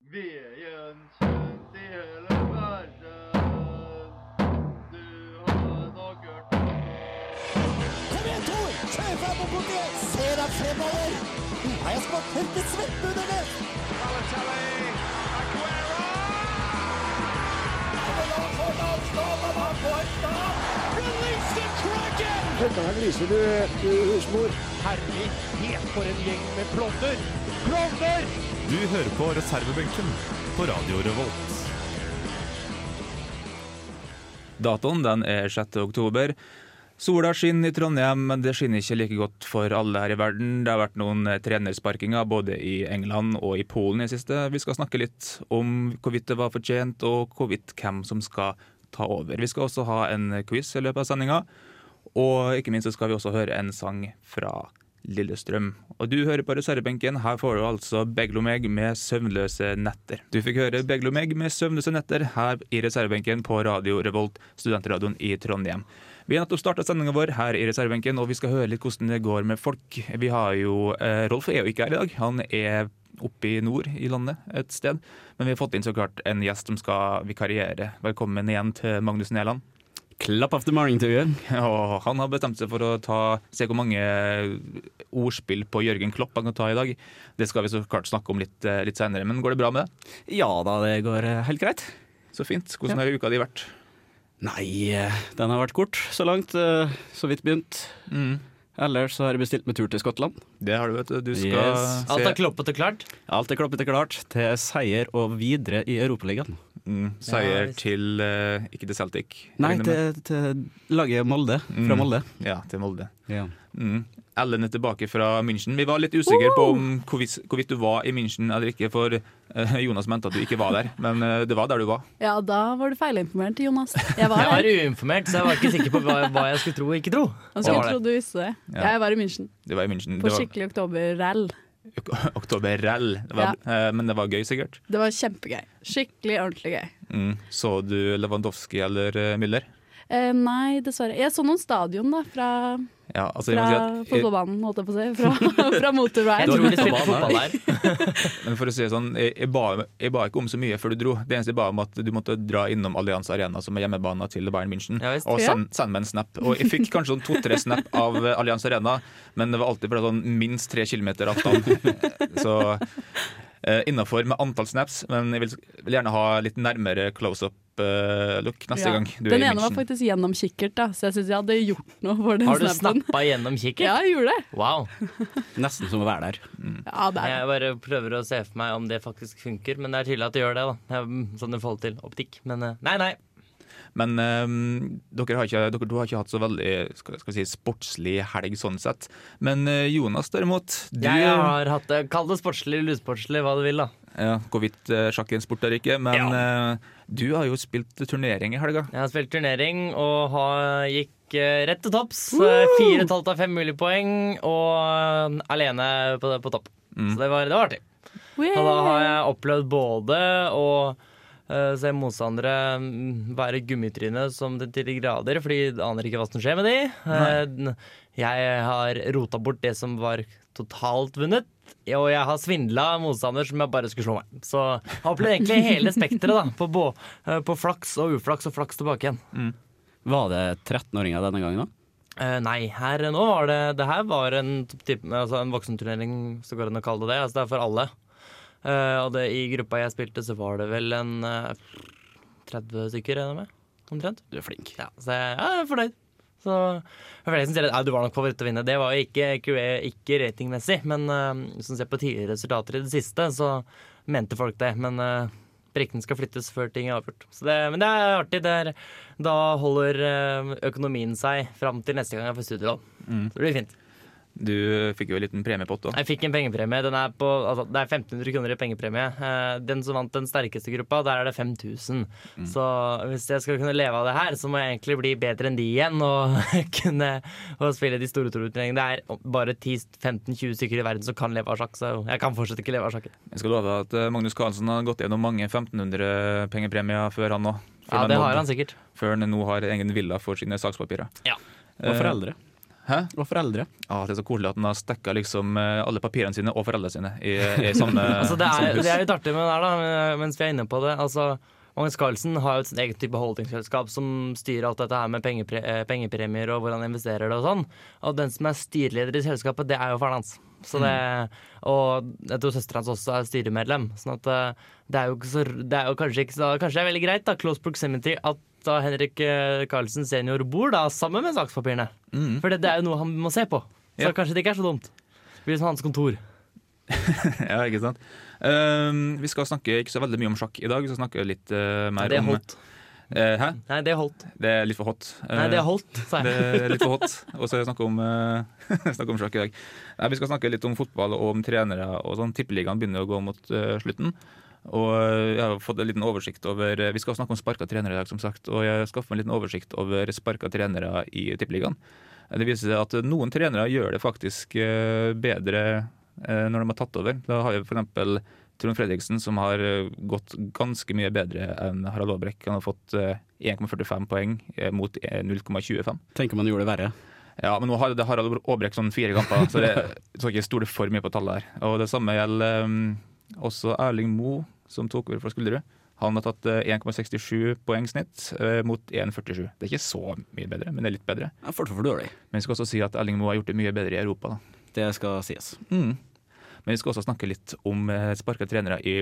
ved gjenkjent i hele verden. Du har nok hørt om Kom igjen, Tor! Kjør fram og bort igjen! Se deg fremover! Nå har jeg smakt helt til svetten under det! Du hører på reservebenken på Radio Revolt. Datoen den er 6. oktober. Sola skinner i Trondheim, men det skinner ikke like godt for alle her i verden. Det har vært noen eh, trenersparkinger både i England og i Polen i det siste. Vi skal snakke litt om hvorvidt det var fortjent, og hvorvidt hvem som skal ta over. Vi skal også ha en quiz i løpet av sendinga, og ikke minst så skal vi også høre en sang fra Lillestrøm. Og du hører på reservebenken. Her får du altså Beglomeg med 'Søvnløse netter'. Du fikk høre Beglomeg med 'Søvnløse netter' her i reservebenken på Radio Revolt, studentradioen i Trondheim. Vi har nettopp starta sendinga vår her i reservebenken, og vi skal høre litt hvordan det går med folk. Vi har jo eh, Rolf er jo ikke her i dag. Han er oppe i nord i landet et sted. Men vi har fått inn så klart en gjest som skal vikariere. Velkommen igjen til Magnus Næland. Klapp after morning to you. Og han har bestemt seg for å ta, se hvor mange ordspill på Jørgen Klopp han kan ta i dag. Det skal vi så klart snakke om litt, eh, litt senere, men går det bra med det? Ja da, det går eh, helt greit. Så fint. Hvordan har uka di vært? Nei, eh, den har vært kort så langt. eh, Så vidt begynt. Mm. Ellers så har jeg bestilt meg tur til Skottland. Det har du, vet du. Du skal Yes. se Alt er kloppete klart. Alt er klappete klart til seier og videre i Europaligaen. mm, Ja, seier visst. til eh, Ikke til Celtic. Nei, regner med. til, til laget Molde. Fra Mm. Molde. Ja, til Molde. Ja. Mm. Ellen er tilbake fra München. Vi var litt usikre på om hvorvidt, hvorvidt du var i München eller ikke, for eh, Jonas mente at du ikke var der, men eh, det var der du var. Ja, da var du feilinformert, Jonas. Jeg Jeg var her. var uinformert, så jeg var ikke sikker på hva, hva jeg skulle tro og ikke tro. Han Jeg skulle var der. tro du visste det. Ja. Jeg var i München Det var i München. på Det var skikkelig oktober-rall. ok- oktoberrell, Det var- eh, men det var gøy, sikkert. Det var kjempegøy. Skikkelig ordentlig gøy. Mm. Så du Lewandowski eller eh, Müller? Eh, nei, dessverre. Jeg så noen stadion da, fra, Ja, altså, jeg fra må si at, fotballbanen, holdt jeg på å si. Fra, fra Jeg motorveien. tror de spilte fotball der. men for å si det sånn, jeg, jeg, ba, jeg ba ikke om så mye før du dro. Det eneste jeg ba om, at du måtte dra innom Allianz Arena, som er hjemmebana til Bayern München, Ja, visst. og Ja. send, send meg en snap. Og jeg fikk kanskje sånn to-tre snap av eh, Allianz Arena, men det var alltid fra sånn minst tre kilometer avstand. Så eh, innafor med antall snaps, men jeg vil, vil gjerne ha litt nærmere close-up-look neste Ja. gang du Den er i ene var München. faktisk gjennom kikkert, da, så jeg syns jeg hadde gjort noe for den Har du snappen. snappa gjennom kikkert? Ja, jeg gjorde det. Wow. Nesten som å være der. Ja, det er. Jeg bare prøver å se for meg om det faktisk funker, men det er tydelig at det gjør det. da Jeg- Sånn i forhold til optikk. Men eh, nei, nei. Men ehm, dere, har ikke, dere to har ikke hatt så veldig skal, skal vi si, sportslig helg sånn sett. Men eh, Jonas derimot, du Jeg har hatt det. Kall det sportslig, lusportslig, hva du vil, da. ja, Hvorvidt eh, sjakk er en sport eller ikke, men eh, du har jo spilt turnering i helga. Jeg har spilt turnering og har, gikk eh, rett til topps. Eh, Fire og et halvt av fem mulige poeng, og eh, alene på, på topp. Så det var, det var artig. Og da har jeg opplevd både å eh, se motstandere mm, være gummitryne som det til de grader, fordi de aner ikke hva som skjer med de. Eh, n- Jeg har rota bort det som var totalt vunnet, og jeg har svindla motstander som jeg bare skulle slå meg. Så jeg har opplevd egentlig hele spekteret, da. På, bå- eh, på flaks og uflaks og flaks tilbake igjen. Var det 13-åringer denne gangen òg? Eh, nei, her nå var det Det her var en, typ, altså en voksenturnering, så går det an å kalle det det. Altså det er for alle. Eh, og det, i gruppa jeg spilte, så var det vel en eh, 30 stykker, regner jeg med. Omtrent. Du er flink. Ja, så jeg, ja, jeg er fornøyd. Så for flere som sier at «Ja, du var nok favoritt til å vinne, det var jo ikke, ikke, ikke ratingmessig, men eh, hvis man ser på tidligere resultater i det siste, så mente folk det. Men eh, brikkene skal flyttes før ting er avgjort. Så det, men det er artig. Det er, da holder eh, økonomien seg fram til neste gang jeg får studielån. Så det blir fint. Du fikk jo en liten premiepott òg. Jeg fikk en pengepremie. Den er på, altså, det er 1500 kroner i pengepremie. Eh, Den som vant den sterkeste gruppa, der er det 5000. Så hvis jeg skal kunne leve av det her, så må jeg egentlig bli bedre enn de igjen og kunne og spille de store turutdelingene. Det er bare 10-15-20 stykker i verden som kan leve av sjakk, så jeg kan fortsatt ikke leve av sjakk. Jeg skal love at eh, Magnus Carlsen har gått gjennom mange 1500 pengepremier før han òg. Ja, det har han sikkert. Før han nå har egen villa for sine sakspapirer. Ja. Eh, Og foreldre. Hæ? Og foreldre. Ah, det er så koselig at han har stekka liksom eh, alle papirene sine og foreldrene sine i, i samme Altså, det, samme er, hus. det er litt artig med det her, da, men- eh, mens vi er inne på det. Altså, Magnus Carlsen har jo et sitt eget type holdingselskap som styrer alt dette her med pengepre eh, pengepremier og hvordan han investerer det og sånn. Og den som er styreleder i selskapet, det er jo faren hans. Så det, og jeg tror søstera hans også er styremedlem. Sånn at eh, det er jo, ikke så, r- det er jo kanskje ikke så Kanskje det er veldig greit, da, close proximity, at da Henrik eh, Carlsen senior bor da sammen med sakspapirene. For det, det er jo noe han må se på. Så Ja. kanskje det ikke er så dumt. Det blir som hans kontor. ja, ikke sant? Ehm, vi skal snakke ikke så veldig mye om sjakk i dag. Vi skal snakke litt eh, mer Det om holdt. Eh, hæ? Nei, det holdt. Det er litt for hot. Nei, det Eh, holdt, sa Det jeg. er litt for hot. Og så snakke om, eh, snakke om sjakk i dag. Nei, vi skal snakke litt om fotball og om trenere. og sånn. Tippeligaen begynner å gå mot eh, slutten. Og eh, jeg har fått en liten oversikt over eh, Vi skal snakke om sparka trenere i dag, som sagt. Og jeg skaffer meg en liten oversikt over sparka trenere i Tippeligaen. Det viser seg at noen trenere gjør det faktisk eh, bedre eh, når de har tatt over. Da har vi f.eks. Trond Fredriksen, som har eh, gått ganske mye bedre enn Harald Aabrekk. Han har fått eh, 1,45 poeng eh, mot eh, 0,25. Tenker man gjorde det verre. Ja, men nå har det Harald Aabrekk sånn fire kamper, så det så ikke stole for mye på tallet her. Og det samme gjelder um, også Erling Moe, som tok over fra Skulderud. Han har tatt eh, 1,67 poeng snitt eh, mot 1,47. Det er ikke så mye bedre, men det er litt bedre. Jeg får det for dårlig. Men vi skal også si at Erling Moe har gjort det mye bedre i Europa, da. Det skal sies. Mm. Men vi skal også snakke litt om eh, sparka trenere i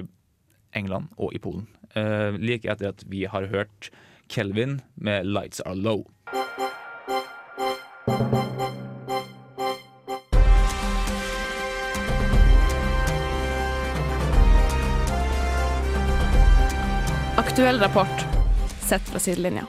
England og i Polen. Eh, like etter at vi har hørt Kelvin med 'Lights Are Low'. Aktuell rapport sett fra sidelinja.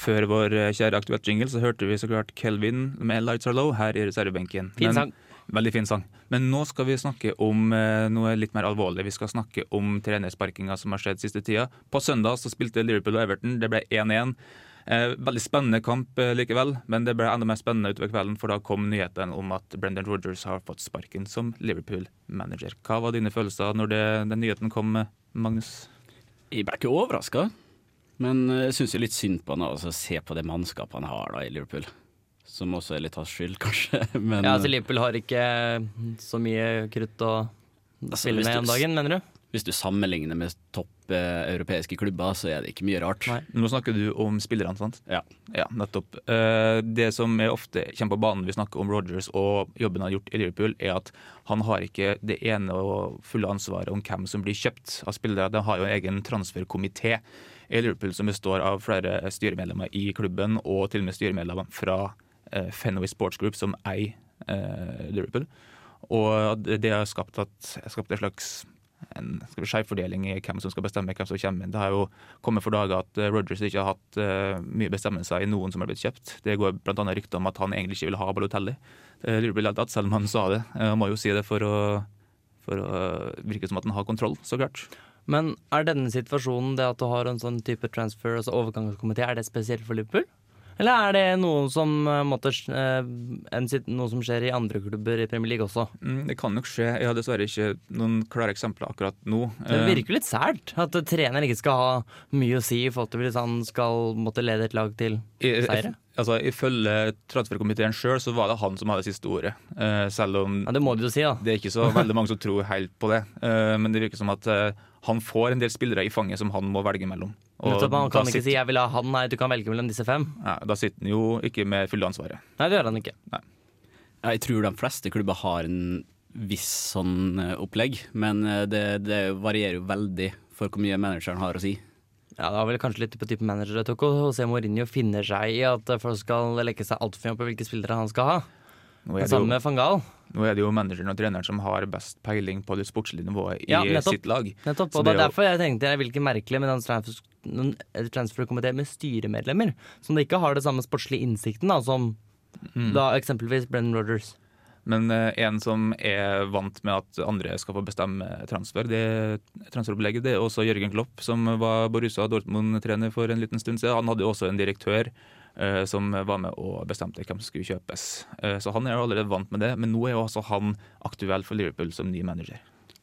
Før vår eh, kjære aktuelt jingle så hørte vi så klart Kelvin med 'Lights Are Low' her i reservebenken. Fin Men- sang. Veldig fin sang. Men nå skal vi snakke om eh, noe litt mer alvorlig. Vi skal snakke om trenersparkinga som har skjedd siste tida. På søndag så spilte Liverpool og Everton. Det ble 1-1. Eh, veldig spennende kamp eh, likevel, men det ble enda mer spennende utover kvelden, for da kom nyheten om at Brendan Rogers har fått sparken som Liverpool-manager. Hva var dine følelser når det, den nyheten kom, eh, Magnus? Jeg ble ikke overraska, men eh, jeg syns litt synd på han. Altså, se på det mannskapet han har da i Liverpool, som også er litt hans skyld, kanskje. Men Ja, altså Liverpool har ikke mm, så mye krutt å altså, spille hvis, med om du, dagen, mener du? hvis du sammenligner med topp eh, europeiske klubber, så er det ikke mye rart. Nei. Nå snakker du om spillerne, sant? Ja. Ja, nettopp. Eh, Det som er ofte kommer på banen når vi snakker om Rogers og jobben han har gjort i Liverpool, er at han har ikke det ene og fulle ansvaret om hvem som blir kjøpt av spillere. De har jo en egen transferkomité i Liverpool som består av flere styremedlemmer i klubben, og til og med styremedlemmer fra eh, Fenway Sports Group, som eier eh, Liverpool. Og det det har skapt, at, skapt en slags en skal vi, si, skjevfordeling i hvem som skal bestemme hvem som kommer inn. Det har jo kommet for dager at eh, Rogers ikke har hatt eh, mye bestemmelser i noen som har blitt kjøpt. Det går bl.a. rykter om at han egentlig ikke vil ha Balotelli. Eh, Lurer på litt at selv om han sa det. Eh, Han må jo si det for å, for å virke som at han har kontroll, så klart. Men er denne situasjonen, det at du har en sånn type transfer, altså overgangskomité, er det spesielt for Liverpool? Eller er det noe som, eh, måtte, eh, en sit- noe som skjer i andre klubber i Premier League også? Mm, det kan nok skje. Jeg har dessverre ikke noen klare eksempler akkurat nå. Det Eh, virker litt sært at treneren ikke skal ha mye å si i forhold til hvis han skal måtte lede et lag til I- seire. Altså, Ifølge transferkomiteen sjøl så var det han som hadde siste ordet, eh, selv om Ja, det må du jo si, da. Det er ikke så veldig mange som tror helt på det, eh, men det virker som at eh, han får en del spillere i fanget som han må velge mellom. Nettopp, da han kan ikke sitter, si 'jeg vil ha han', nei, du kan velge mellom disse fem. nei, da sitter han jo ikke med fulle ansvaret. Nei, det gjør han ikke. Jeg tror de fleste klubber har en viss sånn eh, opplegg, men eh, det, det varierer jo veldig for hvor mye manageren har å si. Ja, Det var vel kanskje litt på type manager. Jeg tror ikke José Mourinho finner seg i at eh, folk skal legge seg altfor mye opp i hvilke spillere han skal ha. Nå er Det det, samme jo, med van Gaal. nå er det jo manageren og treneren som har best peiling på det sportslige nivået i Ja, nettopp. sitt lag. Nettopp, Så det og det er er jo- derfor jeg tenkte jeg hvilket merkelig med den transfer- den transferkomiteen med styremedlemmer som da ikke har det samme sportslige innsikten da, som Mm. da eksempelvis Brennan Rodgers. Men eh, en som er vant med at andre skal få bestemme transfer, det transferopplegget, det er også Jørgen Klopp, som var Borussia Dortmund-trener for en liten stund siden. Han hadde jo også en direktør eh, som var med og bestemte hvem som skulle kjøpes. Eh, så han er jo allerede vant med det, men nå er jo altså han aktuell for Liverpool som ny manager.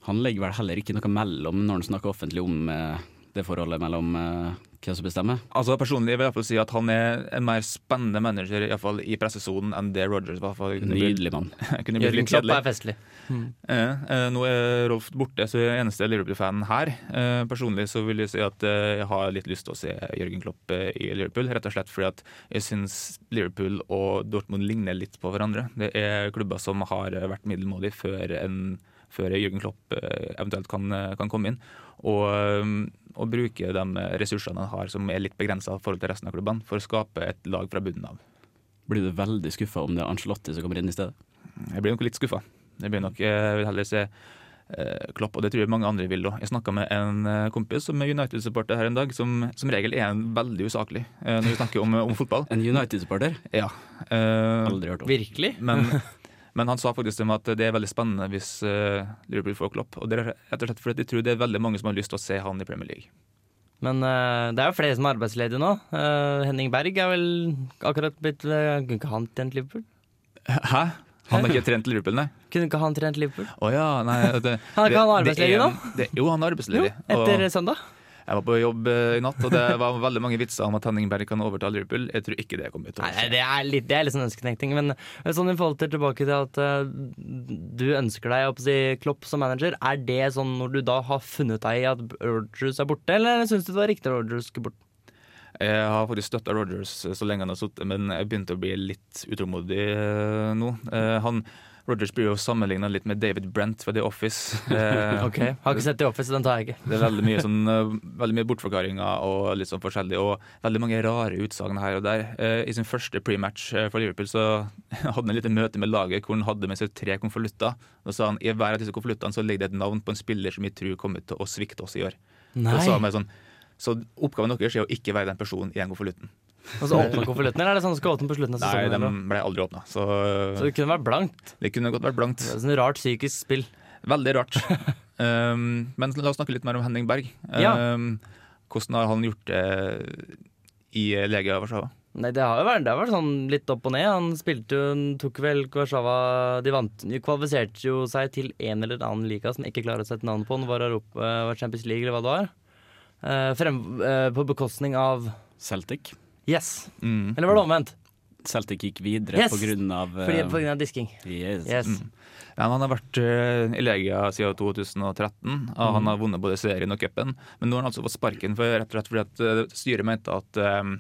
Han legger vel heller ikke noe mellom når han snakker offentlig om eh, det forholdet mellom eh, hvem som bestemmer. Altså Personlig vil jeg i hvert fall si at han er en mer spennende manager i, hvert fall, i pressesonen enn det Rogers var. For det kunne bli- Nydelig mann. kunne bli Jørgen litt Klopp kjedelig. er festlig. Eh, eh, nå er Rolf borte, så jeg er eneste Liverpool-fan her. Eh, personlig så vil jeg si at eh, jeg har litt lyst til å se Jørgen Klopp eh, i Liverpool. Rett og slett fordi at jeg syns Liverpool og Dortmund ligner litt på hverandre. Det er klubber som har eh, vært middelmådige før, en, før Jørgen Klopp eh, eventuelt kan, eh, kan komme inn. Og, eh, og bruke de ressursene han har som er litt begrensa i forhold til resten av klubbene, for å skape et lag fra bunnen av. Blir du veldig skuffa om det er Ancelotti som kommer inn i stedet? Jeg blir nok litt skuffa. Jeg blir nok, jeg vil heller se eh, Klopp, og det tror jeg mange andre vil òg. Jeg snakka med en eh, kompis som er United-supporter her en dag, som som regel er en veldig usaklig eh, når vi snakker om, om fotball. En United-supporter? Ja. Eh, Aldri hørt om. Virkelig? men, men han sa faktisk til meg at det er veldig spennende hvis eh, Liverpool får Klopp. Og det er rett og slett fordi jeg tror det er veldig mange som har lyst til å se han i Premier League. Men eh, det er jo flere som er arbeidsledige nå. Eh, Henning Berg er vel akkurat blitt eh, Kunne ikke han trent Liverpool? Hæ? Han har ikke trent Liverpool, nei? Kunne ikke han trent Liverpool? Å ja, nei det, Han er det- ikke han det arbeidsledig er- nå? det- Jo, han er arbeidsledig. Etter og- søndag? Jeg var på jobb eh, i natt, og det var veldig mange vitser om at Henningberg kan overta Liverpool. Jeg tror ikke det kommer til å Nei, nei, skje. det er litt, det er litt sånn ønsketenkning. Men men sånn i forhold til tilbake til at eh, du ønsker deg jeg håper å si, Klopp som manager, er det sånn når du da har funnet deg i at Rogers er borte, eller syns du det var riktig at Rogers skulle bort? Jeg har faktisk støtta Rogers så lenge han har sittet, men jeg begynte å bli litt utålmodig eh, nå. Eh, Han, Rogers blir jo sammenligna litt med David Brent fra The Office. Eh, Ok, Har ikke sett The Office, den tar jeg ikke. Det er veldig mye, sånn, eh, veldig mye bortforklaringer og litt sånn forskjellig, og veldig mange rare utsagn her og der. Eh, I sin første prematch eh, for Liverpool så hadde han et lite møte med laget hvor han hadde med seg tre konvolutter. Da sa han i hver av disse konvoluttene så ligger det et navn på en spiller som vi tror kommer til å svikte oss i år. Så, sa han meg sånn, så oppgaven deres er å ikke være den personen i den konvolutten. Og så åpner konvolutten, eller er det sånn du skal åpne på slutten av Nei, sesongen? de eller noe? ble aldri åpna, så eh, Så det kunne vært blankt. det kunne godt vært blankt. Det er sånn rart psykisk spill. Veldig rart. um, men la oss snakke litt mer om Henning Berg. Ja. Um, hvordan har han gjort det i Legia Warszawa? Nei, det har jo vært, det har vært sånn litt opp og ned. Han spilte jo, han tok vel Warszawa De vant, de kvalifiserte jo seg til en eller annen liga som jeg ikke klarer å sette navnet på. Om det var Europa, eh, var Champions League eller hva det var. Eh, frem, eh, på bekostning av Celtic. Yes! Mm. Eller var det omvendt? Celtic gikk videre Yes! på grunn av eh, Fordi, på grunn av disking. yes. Yes. Ja, men han har vært eh, i Legia siden 2013. og Han har vunnet både serien og cupen. Men nå har han altså fått sparken for, rett og slett fordi at eh, styret mente at um,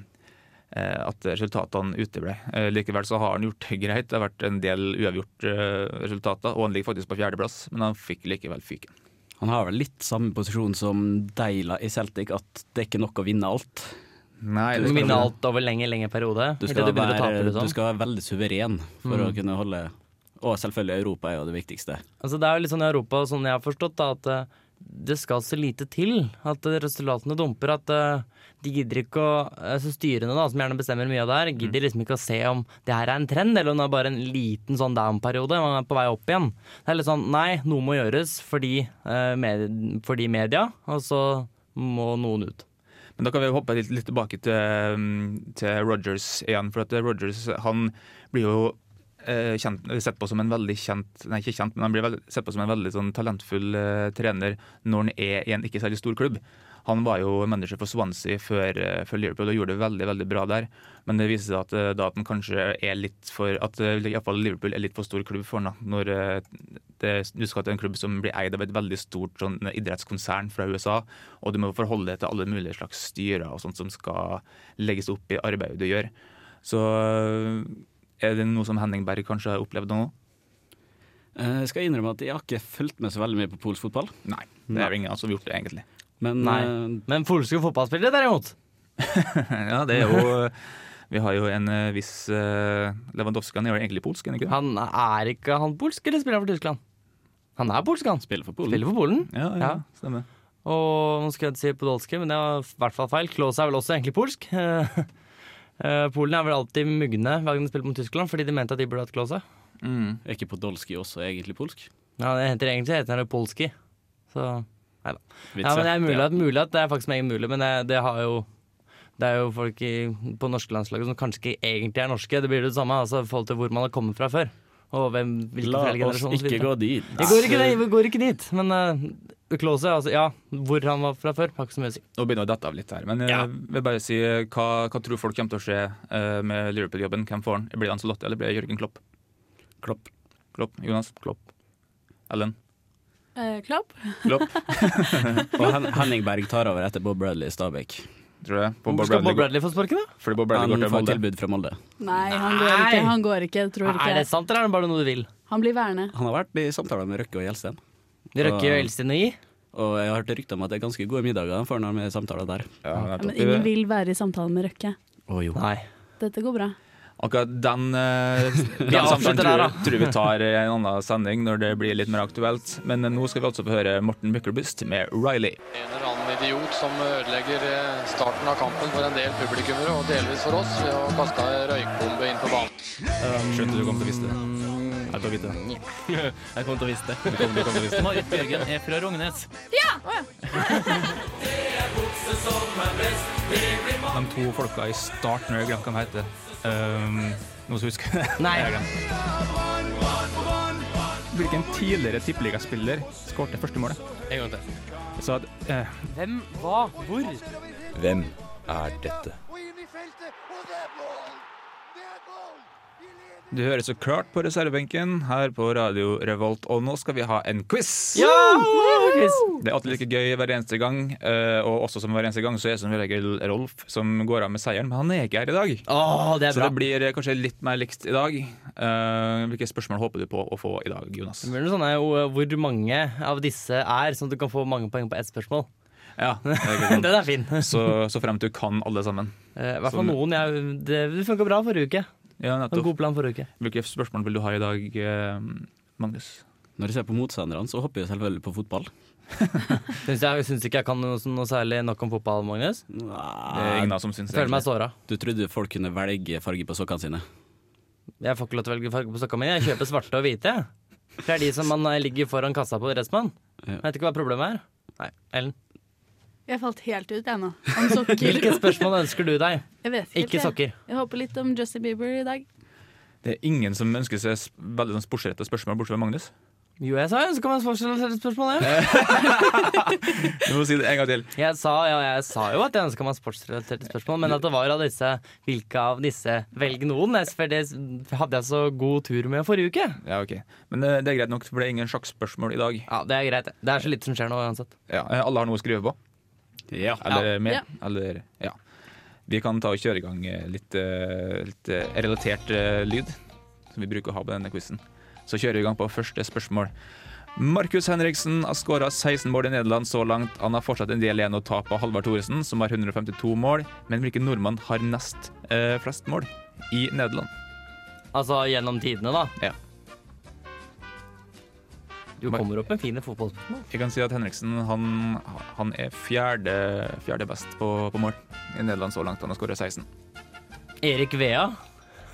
eh, at resultatene uteble. Eh, Likevel så har han gjort det greit. Det har vært en del uavgjort eh, resultater, og han ligger faktisk på fjerdeplass, men han fikk likevel fyken. Han har vel litt samme posisjon som Deila i Celtic, at det er ikke nok å vinne alt. Nei, Du må vinne alt over lenge, lenge periode. Du Helt skal, til du begynner være, å tape, Mm. liksom. du skal være veldig suveren for å kunne holde Og selvfølgelig, Europa er jo det viktigste. Altså, det er jo litt sånn i Europa, sånn jeg har forstått, da, at eh, det skal så lite til at eh, resultatene dumper. At eh, de gidder ikke å eh, Så styrene, da, som gjerne bestemmer mye av det her, gidder liksom ikke å se om det her er en trend, eller om det er bare en liten sånn down-periode. Man er på vei opp igjen. Det er litt sånn nei, noe må gjøres fordi, eh, med, fordi media, og så må noen ut. Men da kan vi hoppe litt, litt tilbake til, um, til Rogers igjen. For at Rogers han blir jo eh, kjent, sett på som en veldig kjent Nei, ikke kjent, men han blir vel, sett på som en veldig sånn, talentfull eh, trener når han er i en ikke særlig stor klubb. Han var jo manager for Swansea før, eh, før Liverpool og gjorde det veldig veldig bra der. Men det viser seg at, eh, da at han kanskje er litt for At eh, i hvert fall Liverpool er litt for stor klubb for han da, når eh, det, du skal til en klubb som blir eid av et veldig stort sånn, idrettskonsern fra USA, og du må forholde deg til alle mulige slags styrer og sånt som skal legges opp i arbeidet du gjør. Så øh, er det noe som Henning Berg kanskje har opplevd nå? Eh, Jeg skal innrømme at jeg har ikke fulgt med så veldig mye på polsk fotball. Nei, det er jo ingen som har gjort det, egentlig. Men Nei. eh, Men polske fotballspillere, derimot Ja, det er jo Vi har jo en øh, viss øh, Lewandowski, han er jo egentlig polsk, er han ikke det? Han er ikke han polsk, eller spiller han for Tyskland? Han er polsk, han. spiller for Polen. Spiller for Polen. Ja, ja, Ja. stemmer. Og nå skal jeg ikke si podolske, men det var i hvert fall feil. Klås er vel også egentlig polsk. Eh, eh, Polen er vel alltid mugne hver gang de spiller mot Tyskland, fordi de mente at de burde hatt Klåse. Mm. Er ikke Podolsky også egentlig polsk? Ja, det heter egentlig heter det polski. Så Nei da. Ja, Vitser. men det er mulig Ja. at, mulig at det er faktisk meget mulig, men det, det har jo det er jo folk i, på norske landslaget som kanskje ikke egentlig er norske. Det blir jo det samme altså, i forhold til hvor man har kommet fra før. Og hvem, hvilke La oss foreldregenerasjon ikke gå dit. Jeg går ikke, dit- vi går ikke dit, men uh, Klose, altså, ja, hvor han var fra før, har ikke så mye å si. Nå begynner jeg å dette av litt her, men jeg Ja. vil bare si eh, hva, hva tror folk kommer til å skje eh, med Liverpool-jobben? Hvem får den? Blir det Ancelotti eller blir det Jørgen Klopp? Klopp. Klopp. Jonas Klopp. Ellen Eh, Klopp? Klopp, Og Hen Henning Berg tar over etter Bob Bradley i Stabæk. tror jeg. Bob Hvor skal Bob Bradley gå- Bradley få sparken, da? Fordi Bob Bradley Han går til får Molde. tilbud fra Molde. Nei, han går Nei. ikke. Han går ikke, jeg tror Er ikke det sant, eller er det bare noe du vil? Han blir værende. Han har vært i samtaler med Røkke og Gjelsten. Røkke og Elstine i? Og jeg har hørt rykter om at det er ganske gode middager han får når han er i samtaler der. Ja, Ja, nettopp. men ingen vil være i samtale med Røkke. Å jo. Nei. Dette går bra. Akkurat den, eh, den Vi samtalen avslutter tror, der, da. tror vi tar i en annen sending når det blir litt mer aktuelt. Men eh, nå skal vi altså få høre Morten Buckelbust med Riley. En eller annen idiot som ødelegger eh, starten av kampen for en del publikummere, og delvis for oss, ved å kaste ei røykbombe inn på banen. Skjønte du kom til å vise det. Jeg tar vite det. Jeg kommer til å vise det. Marit Bjørgen er fra Rognes. De to folka i starten, jeg glemte hva de heter. Um, noen som husker det? Nei. Jeg har glemt. Hvilken tidligere tippeligaspiller skårte første målet? En gang til. Så at, eh, Hvem, hva, hvor? Hvem er dette? du hører så klart på reservebenken her på Radio Revolt, og nå skal vi ha en quiz! Ja! Quiz. Det er alltid like gøy hver eneste gang, eh, og også som hver eneste gang så er det som regel Rolf som går av med seieren, men han er ikke her i dag. Å, det er Så bra. det blir eh, kanskje litt mer likt i dag. Eh, hvilke spørsmål håper du på å få i dag, Jonas? Det blir noe sånn her, hvor- hvor mange av disse er, sånn at du kan få mange poeng på ett spørsmål. Ja, det er godt. Den er fin. så, så fremt du kan alle sammen. Eh, I hvert fall Sånn. noen. Jeg, det det funka bra forrige uke. Ja, En nettopp. god plan forrige uke. Hvilke spørsmål vil du ha i dag, eh, Magnus? Når jeg ser på motstanderne, så hopper jeg selvfølgelig på fotball. Syns jeg syns ikke jeg kan noe, sånn noe særlig nok om fotball, Magnus. Det er ingen av oss som syns Ah, Jeg føler meg egentlig. såra. Du trodde folk kunne velge farge på sokkene sine. Jeg får ikke lov til å velge farge på sokkene mine. Jeg kjøper svarte og hvite. jeg. For Det er de som man eh, ligger foran kassa på Dressmann. Ja. Jeg vet ikke hva problemet er. Nei, Ellen. Jeg falt helt ut, jeg nå. Om sokker. Hvilket spørsmål ønsker du deg? Jeg vet ikke. Ikke jeg. sokker. Jeg håper litt om Justin Bieber i dag. Det er ingen som ønsker seg s- veldig sånn sportsrette spørsmål, bortsett fra Magnus. Jo, jeg sa jeg ønska meg sportsrelatert jeg. Du må si det en gang til. Jeg sa, ja, jeg sa jo at jeg ønska meg sportsrelaterte spørsmål, men at det var av disse Hvilke av disse velg noen? Jeg- For det hadde jeg så god tur med forrige uke. Ja, ok. Men eh, det er greit nok, for det er ingen sjakkspørsmål i dag. Ja, Det er greit. Det er så lite som skjer nå uansett. Ja, eh, alle har noe å skrive på. Ja. Eller med. Ja. Eller, ja. Vi kan ta og kjøre i gang eh, litt, eh, litt eh, relatert eh, lyd, som vi bruker å ha på denne quizen. Så kjører vi i gang på første spørsmål. Markus Henriksen har skåra 16 mål i Nederland så langt. Han har fortsatt en del igjen å ta på Halvard Thoresen, som har 152 mål. Men hvilken nordmann har nest eh, flest mål i Nederland? Altså gjennom tidene, da. Ja. Du Men- kommer opp med fine fotballspørsmål. Jeg kan si at Henriksen han, han er fjerde, fjerde best på, på mål i Nederland så langt. Han har skåra 16. Erik Vea.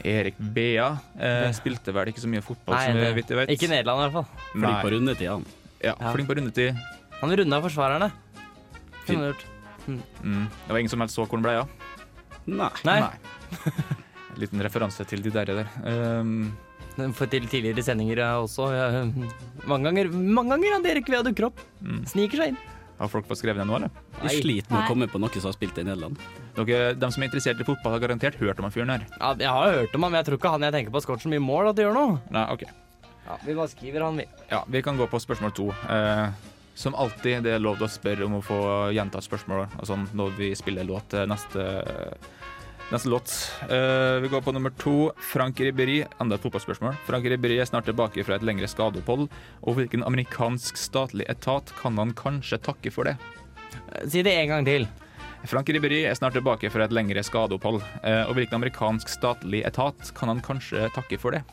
Erik Bea eh, spilte vel ikke så mye fotball, Nei, som jeg det- vidt jeg vet. Ikke Nederland, i hvert fall. Flink på Nei. rundetida, han. Ja, Ja. flink på rundetid. Han runda forsvarerne. Fin. Kunne han gjort. Mm. Det var ingen som helst så hvor den ble av. Nei. Nei, Liten referanse til de der. der. Um, for til tidligere sendinger ja, også. Ja, mange ganger mange ganger hadde Erik Vea dukket opp. Mm. Sniker seg inn. har folk fått skrevet ned noe, eller? Vi Nei. sliter med Nei. å komme på noen som har spilt i Nederland. Dere, de som er interessert i fotball, har garantert hørt om han fyren her. Ja, jeg har hørt om han, men jeg tror ikke han jeg tenker på har skåret så mye mål at det gjør noe. Nei, ok. Ja, vi bare skriver han, vi. Ja, vi kan gå på spørsmål to. Eh, som alltid, det er lov til å spørre om å få gjentatt spørsmål og sånn når vi spiller låt eh, neste, neste låt. Eh, vi går på nummer to. Frank Ribéry, enda et fotballspørsmål. Frank Ribéry er snart tilbake fra et lengre skadeopphold, og hvilken amerikansk statlig etat kan han kanskje takke for det? Si det en gang til. Frank Ribéry er snart tilbake fra et lengre skadeopphold, eh, og hvilken amerikansk statlig etat kan han kanskje takke for det?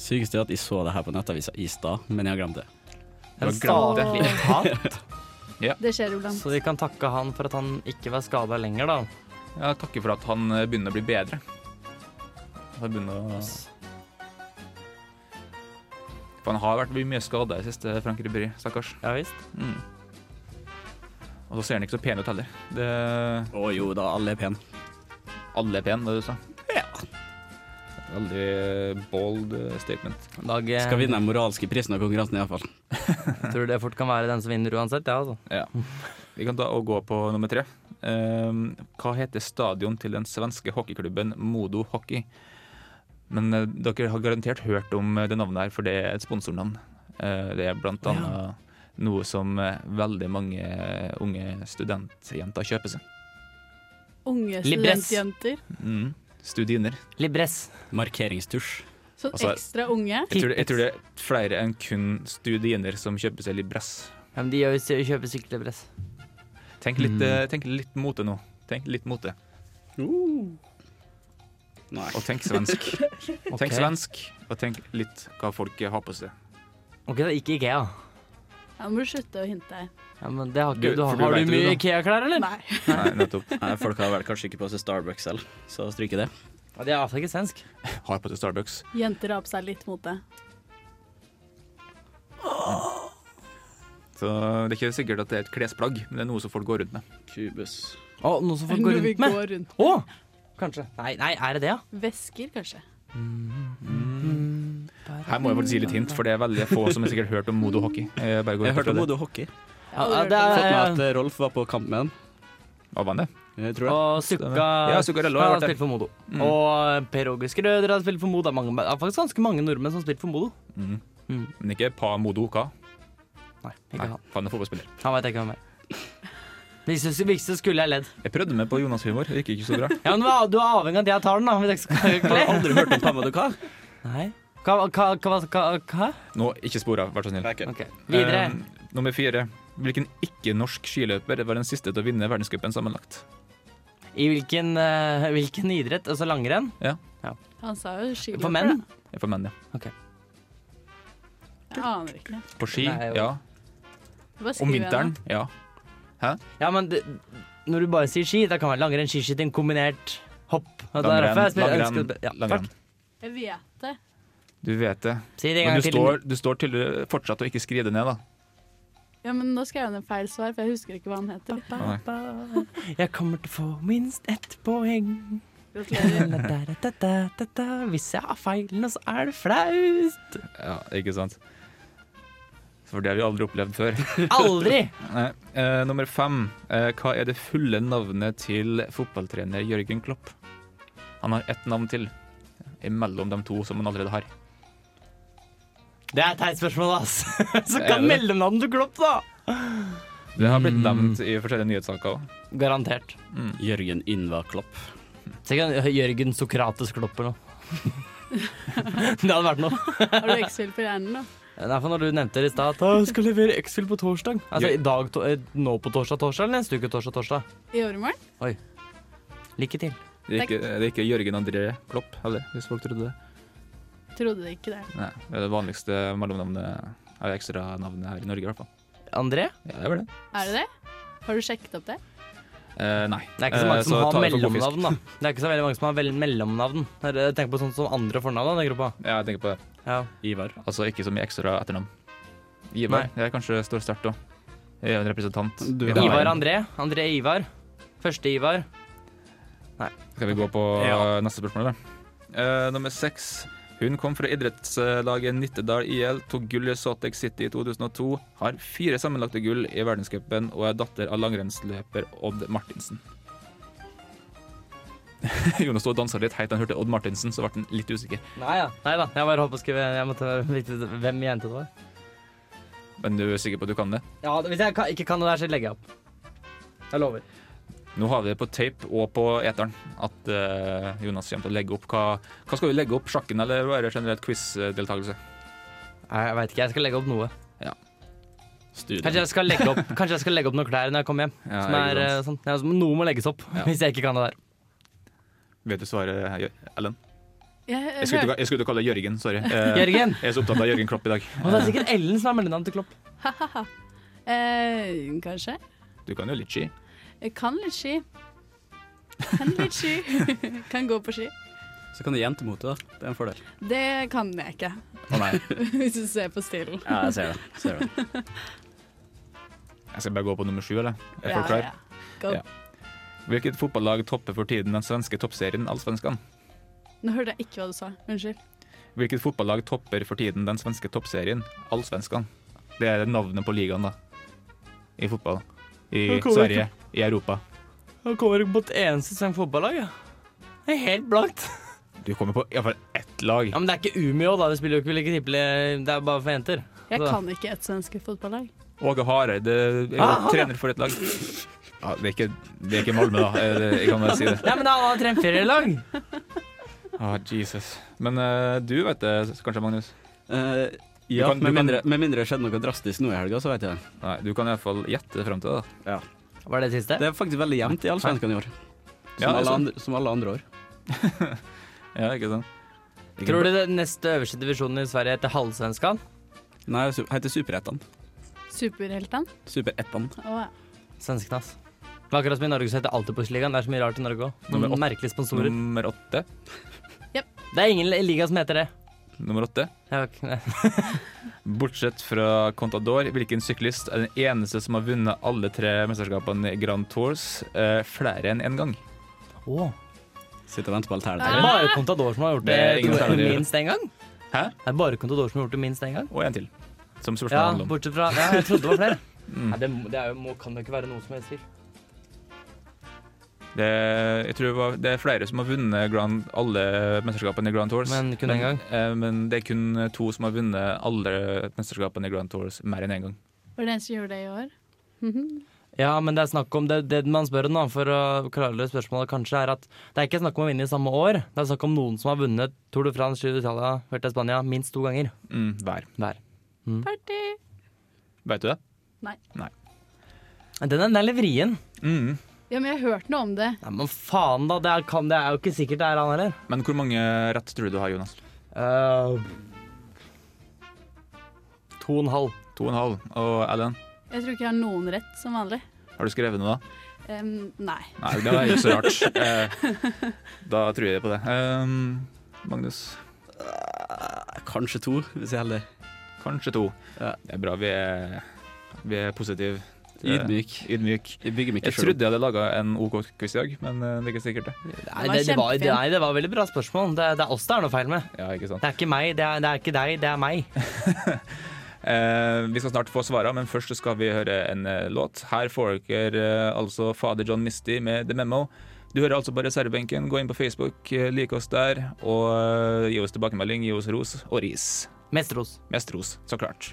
Sykeste er at jeg så det her på nettavisa i stad, men jeg har glemt det. En Du har glemt statlig etat. Det skjer iblant. Så vi kan takke han for at han ikke var skada lenger, da. Ja, takke for at han eh, begynner å bli bedre. Han begynner å For han har vært mye skada i det siste, Frank Ribéry. Stakkars. Ja visst. Mm. Og så ser han ikke så pen ut heller. Det, Å jo da, alle er pene. alle er pene, det du sa. Ja. Veldig bold eh, statement. Dag, eh, Skal vinne den moralske prisen av konkurransen iallfall. Tror du det fort kan være den som vinner uansett, ja, altså. Ja. Vi kan ta og gå på nummer tre. Ehm, hva heter stadion til den svenske hockeyklubben Modo Hockey? Men eh, dere har garantert hørt om eh, det navnet her, for det er et sponsornavn. Eh, det er blant Ja. annet noe som eh, veldig mange eh, unge studentjenter kjøper seg. Unge Libress. studentjenter. Mm. Studiner. Libress. Markeringstusj. Sånn Altså- ekstra unge. Jeg tror, jeg tror det er flere enn kun studiner som kjøper seg libress. Ja, men de gjør jo- kjøper sikkert libress. Tenk litt, eh, tenk litt mote nå. Tenk litt mote. Nei. Og tenk svensk. Ok. Tenk svensk, og tenk litt hva folk har på seg. Ok, det er ikke Ikea. Ja, nå må du slutte å hinte her. Ja, men det har ikke Du- du, har, for du har vet du det, du, mye da. Ikea-klær, eller? Nei. Nei, nettopp. Nei, folk har vel kanskje ikke på seg Starbucks selv, så stryk det. Ja, de er iallfall ikke svensk. Har på seg Starbucks. Jenter har på seg litt mote. Så det er ikke sikkert at det er et klesplagg, men det er noe som folk går rundt med. Kubus. Å, noe som folk går Når vi rundt med. går rundt. Å! Kanskje. Nei, nei, er det det, ja? Vesker, kanskje. Her må jeg faktisk gi litt hint, for det er veldig få som har sikkert hørt om Modo hockey. Jeg bare går Jeg ut hørte fra om det. Bodø hockey. ja, Aldri ja det Fått med at er, eh, Rolf var på kamp med dem. Hva var det? Jeg tror det. Og Sukka Ja, Zuccarello har han vært der. Mm. spilt for Modo. Og Per Åge Skrøder har spilt for Modo. Det er, mange, det er faktisk ganske mange nordmenn som har spilt for Modo. Men ikke Pa Modo hva? Nei, ikke Nei, han. han er fotballspiller. Han veit jeg ikke hvem er. Hvis du- Hvis du skulle jeg ledd. Jeg prøvde meg på Jonas-humor, det gikk ikke så bra. Ja, men hva- Du er avhengig av at jeg tar den, da. Hvis jeg ikke skal Har du aldri hørt om Pamaduka? Nei. Hva? hva, hva, hva, hva? Nå, ikke spor av, vær så snill. Ok, Videre. Eh, nummer fire. Hvilken ikke-norsk skiløper var den siste til å vinne verdenscupen sammenlagt? I hvilken, eh, hvilken idrett? Altså langrenn? Han sa jo skiløper. For menn? da. For menn, ja. Jeg aner ikke. På ski, Nei, jo. ja. Bare skriv Om vinteren, igjen, ja. Ja, men det, når du bare sier ski, da kan det være langrenn, skiskyting, kombinert hopp. Og det er Langrenn, derfor jeg spør- langrenn, ønsker- ja, langrenn. takk. da. Jeg vet det. Du vet det. Si det en Men gang du til. står, du står til fortsatt å ikke skrive det ned, da. Ja, men nå skrev jeg ned feil svar, for jeg husker ikke hva han heter. Nei. Jeg kommer til å få minst ett poeng. Gratulerer. Da-da-da-da-da. Hvis jeg har feil nå, så er det flaut. Ja, ikke sant. For det har vi aldri opplevd før. Aldri! Nei. Eh, nummer fem. Eh, hva er det fulle navnet til fotballtrener Jørgen Klopp? Han har ett navn til imellom de to som han allerede har. Det er et teit spørsmål, ass. Så Det er kan det. mellomnavnet du klopp, da. Det har Mm. blitt nevnt i forskjellige nyhetssaker òg. Garantert. Jørgen Ynva Klopp. Tenk om Jørgen Sokrates Klopp eller noe. det hadde vært noe. Har du Excel på hjernen nå? Derfor når du nevnte det i stad, at jeg skal levere Excel på torsdag. Altså Jø- i dag, to eh, nå på torsdag, torsdag, eller neste uke torsdag, torsdag. I overmorgen? Lykke til. Det er ikke, det er ikke Jørgen André Klopp heller, hvis folk trodde det. Trodde ikke det. Nei, det er det vanligste mellomnavnet av ekstranavnet her i Norge, i hvert fall. André? Ja, det er vel det. Er det det? Har du sjekket opp det? Eh, nei. Det er ikke så mange Eh, som har tar jeg for god fisk. mellomnavn, da. Det er ikke så veldig mange som har vel mellomnavn. Jeg tenker på sånn som andre fornavn, da, den gruppa. Ja, jeg tenker på det. Ja. Ivar. Altså ikke så mye ekstra etternavn. Ivar. Nei. Jeg kanskje står sterkt òg. Jeg er en representant. Du I har- denne Ivar verden. André. André Ivar. Første Ivar. Skal vi gå på Ja. eh, neste spørsmål, da? Eh, nummer seks. Hun kom fra idrettslaget Nittedal IL, tok gull i Salt Lake City i 2002, har fire sammenlagte gull i verdenscupen og er datter av langrennsløper Odd Martinsen. Jonas sto og dansa litt heit, han hørte Odd Martinsen, så ble han litt usikker. Nei da. Nei da. Jeg bare holdt på å skrive Jeg måtte vite hvem jenta det var. Men du er sikker på at du kan det? Ja, Hvis jeg kan, ikke kan det der, så legger jeg opp. Jeg lover. Nå har vi det på tape og på eteren at eh, Jonas kommer til å legge opp. Hva, hva skal du legge opp? Sjakken eller bare generelt quiz-deltakelse? Nei, Jeg veit ikke. Jeg skal legge opp noe. Kanskje Studio. jeg skal legge opp, kanskje jeg skal legge opp noen klær når jeg kommer hjem. Ja, som er, eh, sånn. ja, som noe må legges opp Ja. hvis jeg ikke kan det der. Vet du svaret, Ellen? Jeg, Jeg skulle, ikke- jeg skulle ikke kalle deg Jørgen, sorry. Eh, Eh, Jørgen. Jeg er så opptatt av Jørgen Klopp i dag. Og det er sikkert Ellen som er mellomnavnet til Klopp. Eh, kanskje. Eh, Du kan jo litt ski. Jeg kan litt ski. Kan litt ski. kan gå på ski. Så kan du jentemote, da. Det er en fordel. Det kan jeg ikke, Å nei, hvis du ser på stilen. Ja, jeg ser det. Ser det. jeg skal bare gå på nummer sju, eller? Er folk klar? Go. Ja. Hvilket fotballag topper for tiden den svenske toppserien Allsvenskan? Nå hørte jeg ikke hva du sa. Unnskyld. Hvilket fotballag topper for tiden den svenske toppserien? Allsvenskan. Det er navnet på ligaen, da. I fotball. I Jeg kommer Sverige. I Europa. Nå kommer du på et eneste svensk fotballag, ja. Det er helt blankt. Du kommer på iallfall ett lag. Ja, Men det er ikke Umeå, da. Vi spiller jo ikke like trippel. Det er bare for jenter. Jeg Så- kan ikke et svensk fotballag. Åge Hareide er jo Ah, han, trener for et lag. Ja, det, er ikke, det er ikke Malmö, da. Eh, Jeg kan bare si det. Nei, men han har trent flere lag. Ah, Jesus. Men eh, du vet det kanskje, Magnus? Eh, ja, Du kan- du med, kan- mindre, med mindre det skjedde noe drastisk nå i helga, så vet jeg det. Nei, du kan iallfall gjette frem til det. da. Var det siste? Det er faktisk veldig jevnt i Allsvenskan i år. Som, Ja, altså. det er alle, sant. andre, som alle andre år. Ja, ikke sant? Tror du den neste øverste divisjonen i Sverige heter Halvsvenskan? Nei, det heter Superettan. Superheltene. Superettan. Å, ja. Svenskene, ass. Men akkurat som i Norge så heter det alltid Postligaen. Det er så mye rart i Norge òg. Nummer Noen åtte. merkelige sponsorer. Nummer åtte. Det er ingen liga som heter det. Nummer åtte. Jeg har ikke- nei. Bortsett fra Contador, hvilken syklist er den eneste som har vunnet alle tre mesterskapene i Grand Tours eh, flere enn én en gang? Åh. Sitter og venter på Er det alternativet. bare Contador som har gjort Det er det, ingen to- særlig idé. minst én gang? Hæ? Er det bare Contador som har gjort det minst én gang? Og en til, som spørsmålet Ja, handler om. bortsett fra Ja, jeg trodde det var flere. Mm. Nei, det, må- det er jo, må, kan jo ikke være noe som helst tvil. Det, jeg tror det, var, det er flere som har vunnet grand, alle mesterskapene i Grand Tours. Men kun en gang. eh, men det er kun to som har vunnet alle mesterskapene i Grand Tours mer enn én en gang. Var det en som gjorde det i år? Ja, men det er snakk om det, det man spør om da, for å klargjøre spørsmålet, kanskje, er at det er ikke snakk om å vinne i samme år. Det er snakk om noen som har vunnet Tour de France, Giro d'Italia, Vuelta a Spania minst to ganger Mm, hver. hver. Party! Vet du det? Den er, den er litt vrien. Mm. Ja, men jeg har hørt noe om det. Nei, men faen da, det er, kan, det er jo ikke sikkert det er han heller. Men hvor mange rett tror du du har, Jonas? Eh, to og en halv. To og en halv. Og Ellen, Jeg tror ikke jeg har noen rett, som vanlig. har du skrevet noe da? Em, nei. Nei, det var ikke så rart. Eh, da tror jeg på det. Um, Magnus, Kanskje to, hvis jeg er heldig. kanskje to. Ja. Det er bra vi er, vi er positive. Ydmyk. Ydmyk. Jeg bygger meg Jeg ikke selv trodde jeg hadde laga en OK quiz i dag, men eh, det er ikke sikkert, det. Nei, var det, det, var, kjempefin. nei, det var veldig bra spørsmål. Det, det er oss det er noe feil med. Ja, ikke sant. Det er ikke meg, det er, det er ikke deg, det er meg. Eh, vi skal snart få svara, men først så skal vi høre en eh, låt. Her får dere eh, altså Fader John Misty med The Memo. Du hører altså på reservebenken. Gå inn på Facebook, eh, like oss der, og eh, gi oss tilbakemelding, gi oss ros og ris. Mesteros. Mest ros, så klart.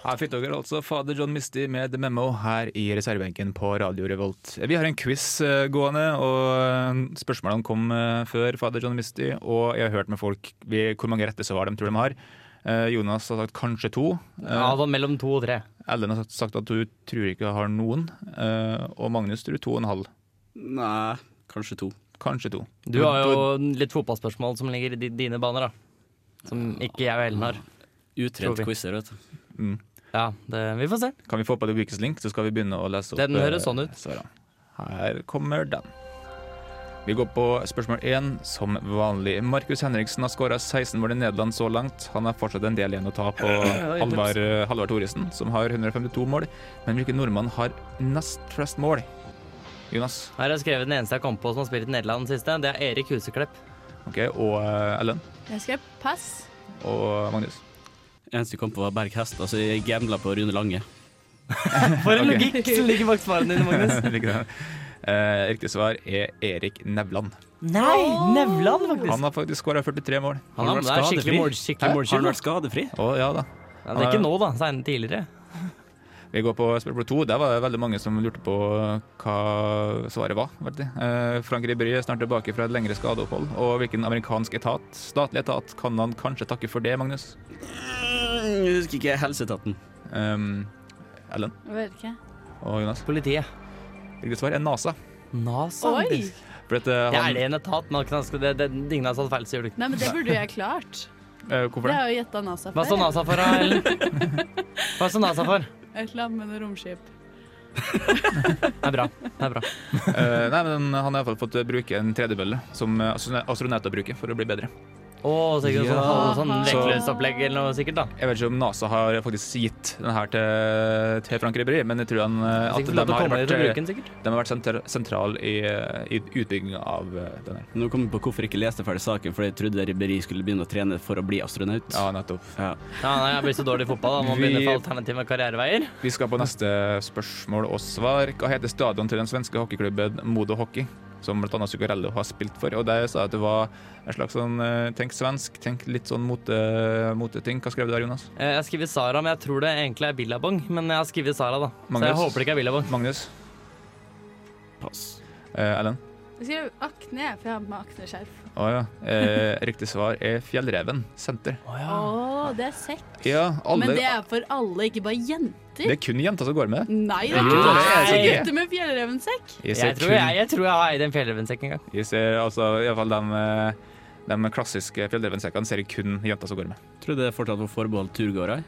Her fikk dere altså fader John Misty med The Memo her i reservebenken på Radio Revolt. Vi har en quiz eh, gående, og spørsmålene kom eh, før fader John Misty. Og jeg har hørt med folk vi, hvor mange rette svar de tror de har. Eh, Jonas har sagt kanskje to. Eh, Ja, det var mellom to og tre. Ellen har sagt- sagt at du tror ikke har noen. Eh, og Magnus tror to og en halv. Nei, kanskje to. Kanskje to. Du har jo litt fotballspørsmål som ligger i di- dine baner, da. Som ikke jeg og Ellen har. Tror Utrent vi. quizer, vet du. mm. Ja, det, vi får se. Kan vi få på The Weakest Link, så skal vi begynne å lese opp Den eh, høres sånn ut. svarene. Her kommer den. Vi går på spørsmål én, som vanlig. Markus Henriksen har skåra 16 mål i Nederland så langt. Han har fortsatt en del igjen å ta på Halvard, eh, Halvard Thoresen, som har 152 mål. Men hvilken nordmann har nest flest mål? Jonas Her har jeg skrevet den eneste jeg kom på som har spilt i Nederland den siste. Det er Erik Huseklepp. ok, og eh, Ellen Jeg skrev pass. og Magnus. Eneste jeg kom på, var Berg Hest. Altså, jeg gambla på Rune Lange. For en Ok. logikk som ligger bak svarene dine, Magnus. Likedan. Eh, Riktig svar er Erik Nevland. Nei, Nevland, faktisk. Han har faktisk skåra 43 mål. Han, Har han har- det er vært skikkelig skadefri? mål, skikkelig Har han målskyld. vært skadefri? Å ja da. Ja, det er ikke nå, da. Senere tidligere. Vi går på spørsmål to. Der var det veldig mange som lurte på hva svaret var. vet du. Eh, Frank Ribéry er snart tilbake fra et lengre skadeopphold. Og hvilken amerikansk etat, statlig etat kan han kanskje takke for det, Magnus? Mm, Jeg husker ikke helseetaten. Um, Ellen Jeg vet ikke. og Jonas. Politiet. Riktig svar er NASA. NASA. Oi! faktisk. For at, eh, Det er han, det en etat, men han kan- det, det, ingen har satt feil, så gjør det ikke. Nei, men det burde jeg klart. eh, Det hvorfor det? har jo gjetta NASA Hva står før. NASA for, da, Ellen? Hva står NASA for? Et eller annet med noe romskip. Det er bra. Det er bra. Eh, nei, men Han har iallfall fått bruke en tredjebølle, som astronaut- astronauter bruker, for å bli bedre. Å, sikkert Ja. sånn, sånn Så- lekelønnsopplegg eller noe sikkert, da. Jeg vet ikke om NASA har faktisk gitt den her til, til Frank Ribéry, men jeg tror han, eh, at Sikkert de lov til å har komme vært, til å eh, bruke den, sikkert. de har vært senter- sentral i, eh, i utbygginga av eh, den her. Nå kom jeg på hvorfor jeg ikke leste ferdig saken, for jeg trodde Ribéry skulle begynne å trene for å bli astronaut. Ja, nettopp. Ja. Ja, nei, jeg blir så dårlig i fotball. Da. Må Vi- begynne for alternative karriereveier. Vi skal på neste spørsmål og svar. Hva heter stadion til den svenske hockeyklubben Modo Hockey, som bl.a. Zuccarello har spilt for? Og der sa jeg at det var en slags sånn eh, tenk svensk, tenk litt sånn mote- moteting. Hva skrev du der, Jonas? Eh, Jeg har skrevet Sara, men jeg tror det egentlig er Billabong. Men jeg har skrevet Sara, da. Så Magnus. jeg håper det ikke er Billabong. Magnus? Pass. Eh, Ellen? Jeg skrev akne, for jeg har på meg akneskjerf. Å ja. Eh, riktig svar er Fjellreven senter. Å, det er sekk. Ja, alle Men det er for alle, ikke bare jenter. Det er kun jenter som går med det. Nei, det er er ikke det, ikke det er ikke det. gutter med fjellrevensekk. Jeg ser, Jeg tror jeg, jeg tror jeg har eid en fjellrevensekk en gang. kun, jeg ser altså, i hvert fall de, eh, de klassiske fjellrevensekkene ser jeg kun jenter som går med. Tror du det fortsatt var forbeholdt turgåere?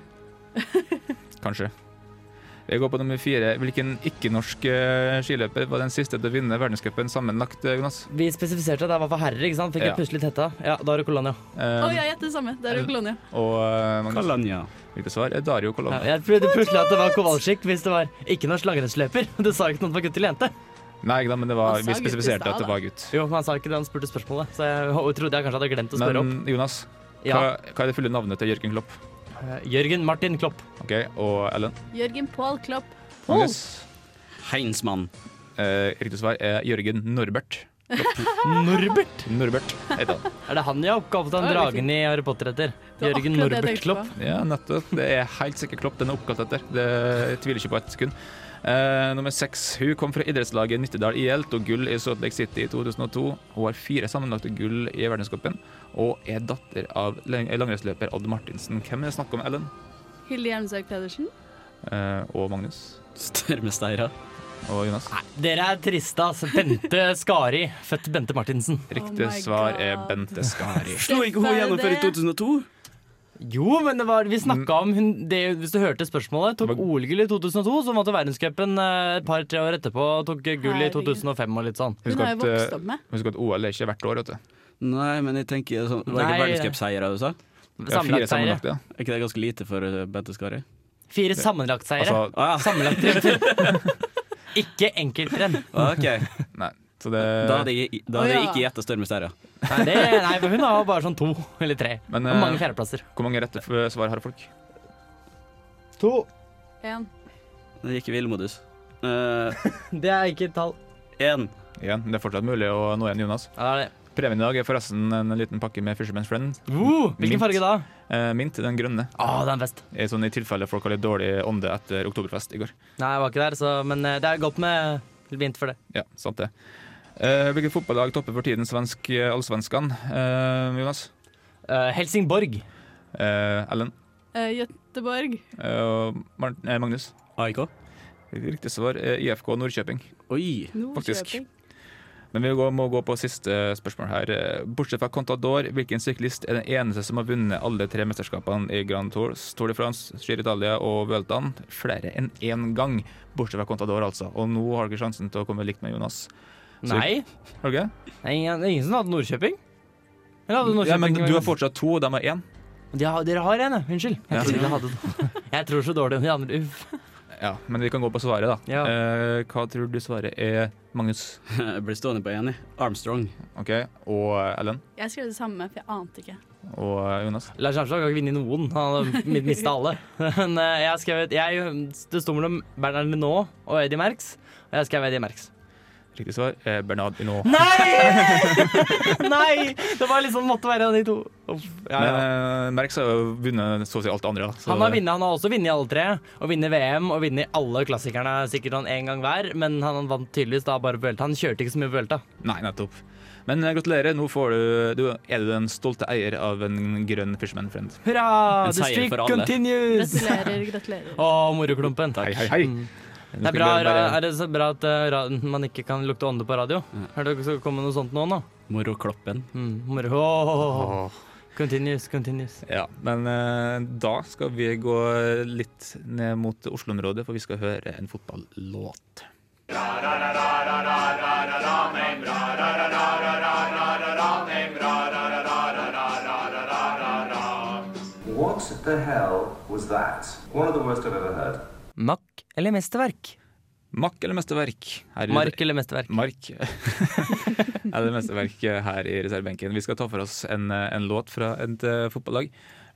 Kanskje. Vi går på nummer fire. Hvilken ikke-norsk eh, skiløper var den siste til å vinne verdenscupen sammenlagt, eh, Jonas? Vi spesifiserte at jeg var for herrer, ikke sant? Fikk Ja. jeg plutselig tetta. Ja, da er det Kolonia. Å, Eh, jeg gjetter det samme. Det er jo Kolonia. Og eh, Magnus, Kalanja. hvilket svar er Dario Ja, Colonna? jeg trodde plutselig at det var Kowalczyk hvis det var ikke norsk langrennsløper. Du sa ikke noe om det var gutt eller jente. Nei da, men det var, Han sa vi gutt i spesifiserte stad, at det da. var gutt. Jo, men han sa ikke det han spurte spørsmålet, så jeg ho- trodde jeg kanskje hadde glemt å spørre Men Jonas, opp. Ja. hva, hva er det fulle navnet til Jørgen Klopp? eh, Jørgen Martin Klopp. Ok, Og Ellen? Jørgen Paul Klopp. Magnus? Heinsmann. Eh, riktig svar er Jørgen Norbert. Norbert! Norbert heter han. Er det han jeg har oppkalt Ja, den det er dragen i Harry Potter etter? Det var Jørgen akkurat det jeg Norbert tenkte Klopp. på. Ja, nettopp. Det er helt sikkert Klopp den er oppkalt etter. Det jeg tviler ikke på ett sekund. Eh, nummer seks. Hun kom fra idrettslaget Nittedal IL, tok gull i Salt Lake City i 2002. Hun har fire sammenlagte gull i verdenscupen og er datter av lang- langrennsløper Odd Martinsen. Hvem er det snakk om, Ellen? Hilde Hjelmsøk Pedersen. Eh, og Magnus? Størmesteira. Og Jonas? Dere er triste, ass. Bente Skari, født Bente Martinsen. Riktig Oh my svar er God. Bente Skari. Slo ikke hun gjennom før i 2002? Jo, men det var, vi snakka om hun det, Hvis du hørte spørsmålet, tok Hva- OL-gull i 2002, så vant hun verdenscupen eh, et par-tre år etterpå, og tok gull i Herregud. 2005 og litt sånn. Hun Husk har at, jo vokst eh, opp med. husk at OL er ikke hvert år, vet du. Nei, men jeg tenker sånn Det var Nei. ikke verdenscupseiere du sa? Det er fire Sammenlagtseiere. sammenlagte. ja. Er ikke det ganske lite for eh, Bente Skari? Fire sammenlagtseiere. Altså, Ah, ja. Ikke enkeltrenn. Ah, OK. nei. Så det, Da hadde jeg, da hadde jeg Å, ikke ja. gjetta Størmesteira. Nei, det, nei, for hun har jo bare sånn to eller tre. Men, og eh, mange fjerdeplasser. hvor mange rette f- svar har folk? To. En. Det gikk i villmodus. Eh, Det er ikke et tall. Én. Igjen, det er fortsatt mulig å nå igjen, Jonas. Ja, det er det. Premien i dag er forresten en liten pakke med Fisherman's Friend. Uh, Mint. hvilken farge da? Eh, mint, den grønne. Å, det er en fest. I, sånn, I tilfelle folk har litt dårlig ånde etter Oktoberfest i går. Nei, jeg var ikke der, så, men eh, det er godt med vint for det. Ja, sant det. Eh, hvilket fotballag topper for tiden svensk eh, allsvenskan? Eh, Jonas? Eh, Helsingborg. Eh, Ellen? Eh, Gøteborg. Eh, og Mar eh, Magnus? AIK. Riktig svar er IFK Nordkjøping. Oi. Faktisk. Men vi går, må gå på siste spørsmål her. Eh, Bortsett fra Contador, hvilken syklist er den eneste som har vunnet alle tre mesterskapene i Grand Tours, Tour de France, Giro Italia og Vueltaen? Flere enn én gang, bortsett fra Contador, altså. Og nå har dere sjansen til å komme likt med Jonas. Så- Nei. Har dere? Det er ingen, det er ingen som hadde Nordkjøping? Eller hadde ikke? Ja, Nordkjøping men du har fortsatt to, og de har én. de har, Dere har en, ja. Unnskyld. Jeg, Ja. trodde jeg, hadde den. jeg tror så dårlig om de andre. Uff. Ja, men vi kan gå på svaret, da. Ja. Eh, hva tror du svaret er, Magnus? Jeg ble stående på én, jeg. Armstrong. OK, og eh, Ellen? Jeg skrev det samme, for jeg ante ikke. Og eh, Jonas? Lars Arnstad har ikke vunnet noen. Han har mista alle. Men eh, jeg har skrevet jeg, Det sto mellom Bernhard Linaa og Eddie Merckx, og jeg skrev Eddie Merckx. Riktig svar er Bernard Hinault. Nei! Nei! Det var liksom måtte være de to. Uff, ja, ja. Men eh, Merckx har jo vunnet så å si alt det andre. da, så- Han har, vunnet, han har også vunnet alle tre, og vunnet VM og vunnet alle klassikerne sikkert sånn én gang hver, men han vant tydeligvis da bare på Vuelta. Han kjørte ikke så mye på Vuelta. Nei, nettopp. Men eh, gratulerer. Nå får du, du, er du den stolte eier av en grønn Fisherman Friend. Hurra! En The seier streak for alle. continues! Gratulerer, gratulerer. Å, moroklumpen. Hei, hei, hei. Mm. Det er bra, ra- er det så bra at eh, ra- man ikke kan lukte ånde på radio. Er det skal komme noe sånt nå, nå? Morokloppen. Mm, moro. Åh. Continues, continues. Ja, men eh, da skal vi gå litt ned mot Oslo-området, for vi skal høre en fotballåt. What the hell was that? One of the worst I've ever heard. Makk eller mesterverk? Makk eller mesterverk? Her i- Mark eller mesterverk? Mark. eller mesterverk eh, her i reservebenken. Vi skal ta for oss en, eh, en låt fra et eh, fotballag.